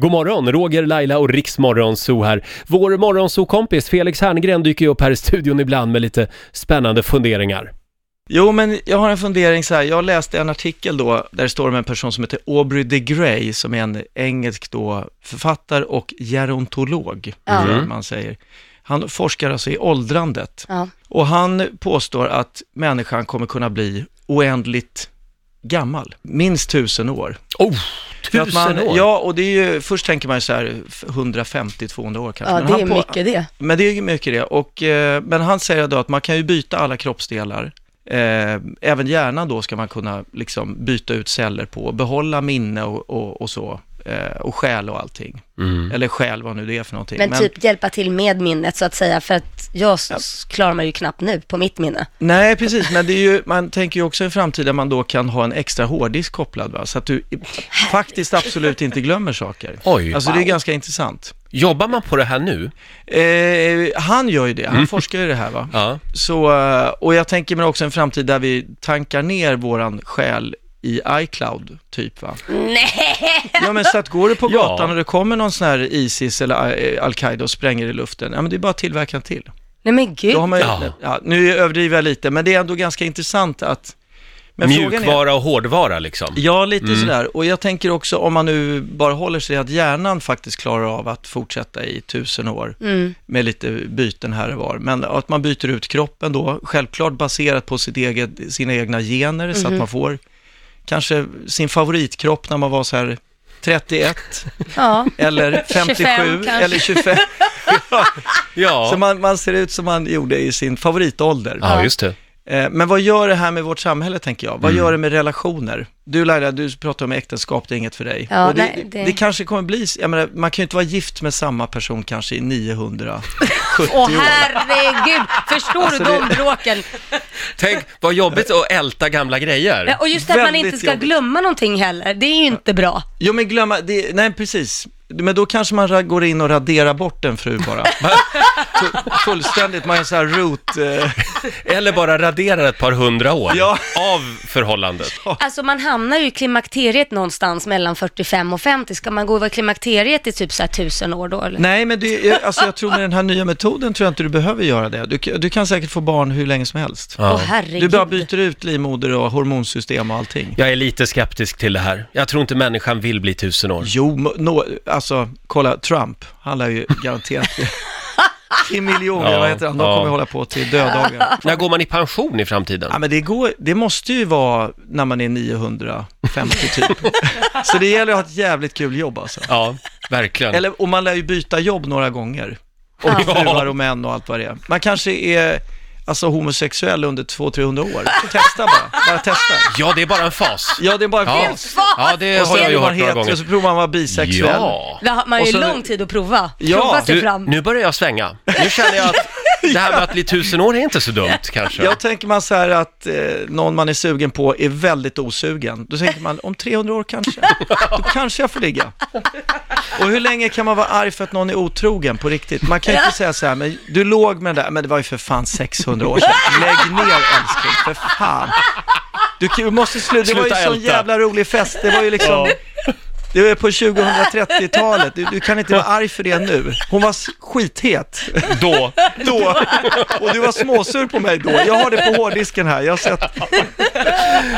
God morgon, Roger, Laila och Riksmorgonzoo här. Vår morgonzoo-kompis Felix Herngren dyker ju upp här i studion ibland med lite spännande funderingar. Jo, men jag har en fundering så här. Jag läste en artikel då, där det står om en person som heter Aubrey de Grey, som är en engelsk då författare och gerontolog, Ja. Mm. tror jag man säger. Han forskar alltså i åldrandet. Ja. Och han påstår att människan kommer kunna bli oändligt gammal, minst tusen år. Oh, För att tusen man, år! Ja, och det är ju, först tänker man ju så här 150-200 år kanske. ja, Men det han är på- mycket det. men det är ju mycket det. Och, eh, men han säger då att man kan ju byta alla kroppsdelar. Eh, även hjärnan då ska man kunna liksom byta ut celler på, behålla minne och, och, och så. Eh, och själ och allting. Mm. Eller själ, vad nu det är för någonting. Mm. Men typ hjälpa till med minnet så att säga, för att jag s- s- klarar mig ju knappt nu på mitt minne. Nej, precis. Men det är ju, man tänker ju också en framtid där man då kan ha en extra hårddisk kopplad. Va? Så att du i- faktiskt absolut inte glömmer saker. Oj. Alltså det är ganska intressant. Jobbar man på det här nu? Eh, han gör ju det, han forskar ju i det här va. Ja. Så, eh, och jag tänker mig också en framtid där vi tankar ner våran själ i iCloud, typ va? Nej! Ja men så att går du på Ja. gatan och det kommer någon sån här Isis eller eh, Al-Qaida och spränger i luften, ja men det är bara tillverkaren till. Nej men gud. Då har man ju, Ja. ja. nu överdriver jag lite, men det är ändå ganska intressant att... Men frågan är- Mjukvara och hårdvara liksom. Ja, lite sådär. Och jag tänker också, om man nu bara håller sig att hjärnan faktiskt klarar av att fortsätta i tusen år, Mm. med lite byten här och var. Men att man byter ut kroppen då, självklart baserat på sitt eget, sina egna gener, så Mhm. att man får kanske sin favoritkropp när man var så här 31 Ja. eller 57 kanske. eller 25. Ja, Så man, man ser ut som man gjorde i sin favoritålder. ja just det. Eh, Men vad gör det här med vårt samhälle, tänker jag? Vad Mm. gör det med relationer? Du Laila, du pratar om äktenskap, det är inget för dig. Ja, Och det, nej, det- det... kanske kommer bli, jag menar, man kan ju inte vara gift med samma person kanske i 970 Åh år. Alltså, herregud, förstår du de bråken? Tänk vad jobbigt att älta gamla Ja, grejer. Och just att man Väldigt inte ska jobbigt. glömma någonting heller, det är ju inte bra. Jo, men glömma, det, nej precis. Men då kanske man ra- går in och raderar bort en fru bara. Tu- Fullständigt, man är så här root... Eh, Eller bara radera ett par hundra år Ja. av förhållandet. Alltså man hamnar ju i klimakteriet någonstans mellan 45 och 50. Ska man gå och vara i klimakteriet i typ så här tusen år då eller? nej, men det, är- alltså, jag tror med den här nya metoden tror jag inte du behöver göra det. Du, du kan säkert få barn hur länge som helst. Åh Du herregud. bara byter ut livmoder och hormonsystem och allting. Jag är lite skeptisk till det här. Jag tror inte människan vill bli tusen år. Jo, mo- nå, alltså kolla Trump, han lär ju garanterat Kim Il-Jong, Ja, vad heter han, de ja. kommer ju hålla på till döddagar. När går man i pension i framtiden? Ja men det, går, det måste ju vara när man är 950 typ. Så det gäller att ha ett jävligt kul jobb alltså. Ja, verkligen. Eller, och man lär ju byta jobb några gånger. Och Ja. fruar och män och allt vad det är. Man kanske är alltså, homosexuell under 200-300 år. Testa bara, bara testa. Ja, det är bara en fas. Ja, det är bara en Ja, fas. ja det Och så har jag ju är man hört några hetero, så gånger. provar man att vara bisexuell. Ja. Där har man Och ju så- lång tid att prova. Ja, prova sig Du, fram. nu börjar jag svänga. Nu känner jag att det här med att bli tusen år är inte så dumt kanske. Jag tänker man så här att eh, någon man är sugen på är väldigt osugen. Då tänker man, om 300 år kanske, då kanske jag får ligga. Och hur länge kan man vara arg för att någon är otrogen på riktigt? Man kan ju inte säga så här, men du låg med den där, men det var ju för fan 600 år sedan. Lägg ner älskling, för fan. Du, kan- du måste sluta, det var ju Sluta sån älta. jävla rolig fest, det var ju liksom... Det var ju på 2030-talet, du, du kan inte vara arg för det nu. Hon var s- skithet Då. då. Och du var småsur på mig då. Jag har det på hårddisken här. Jag har sett